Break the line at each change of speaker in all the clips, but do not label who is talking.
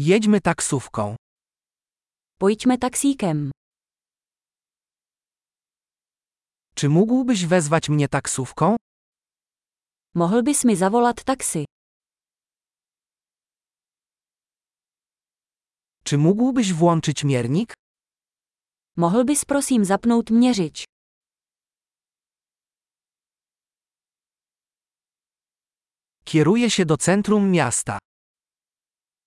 Jedźmy taksówką.
Pojďme taxíkem.
Czy mógłbyś wezwać mnie taksówką?
Mohl bys mi zavolat taxi?
Czy mógłbyś włączyć miernik?
Mohl bys prosím zapnout měřič?
Kieruję się do centrum miasta.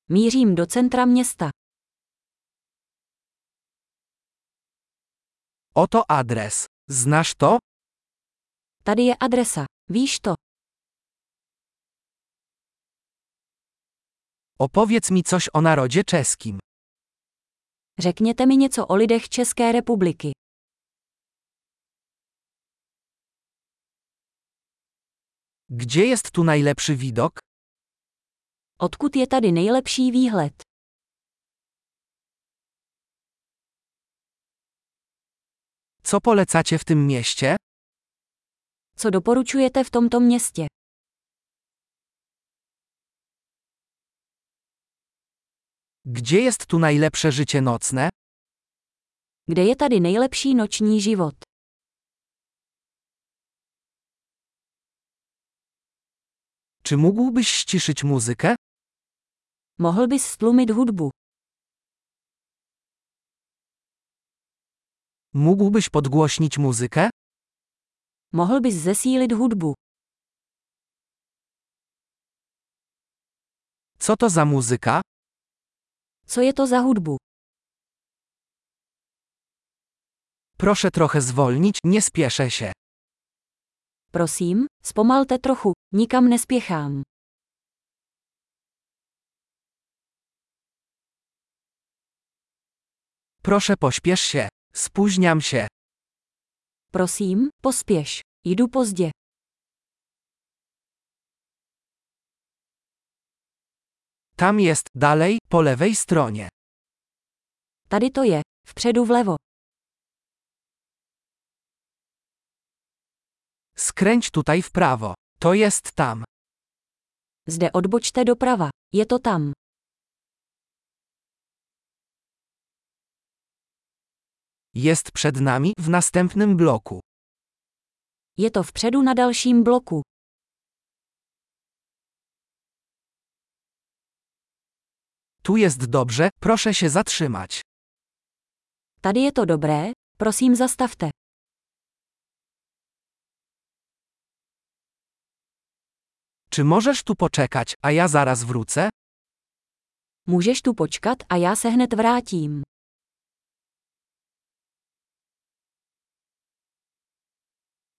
Mířím do centra města.
Oto adres. Znasz to?
Tady je adresa. Víš to?
Opowiedz mi coś o narodzie czeskim.
Řekněte mi něco o lidech České republiky.
Gdzie jest tu najlepszy widok?
Odkud je tady nejlepší výhled?
Co polecacie w tym mieście?
Co doporučujete v tomto městě?
Gdzie jest tu najlepsze życie nocne?
Kde je tady nejlepší noční život?
Czy mógłbyś ściszyć muzykę?
Mohl bys stlumit hudbu?
Mógłbyś podgłośnić muzykę?
Mohl bys zesílit hudbu?
Co to za muzyka?
Co je to za hudbu?
Proszę trochę zwolnić, nie spieszę się.
Prosím, zpomalte trochu, nikam nespěchám.
Proszę pośpiesz się. Spóźniam się.
Prosím, pospěš. Jdu pozdě.
Tam jest, dalej, po lewej stronie.
Tady to je, vpředu vlevo.
Skręć tutaj w prawo. To jest tam.
Zde odbočte doprava. Je to tam.
Jest przed nami w następnym bloku.
Je to vpředu na dalším bloku.
Tu jest dobrze, proszę się zatrzymać.
Tady je to dobré, prosím zastavte.
Czy możesz tu poczekać, a ja zaraz wrócę?
Můžeš tu počkat a já se hned vrátím.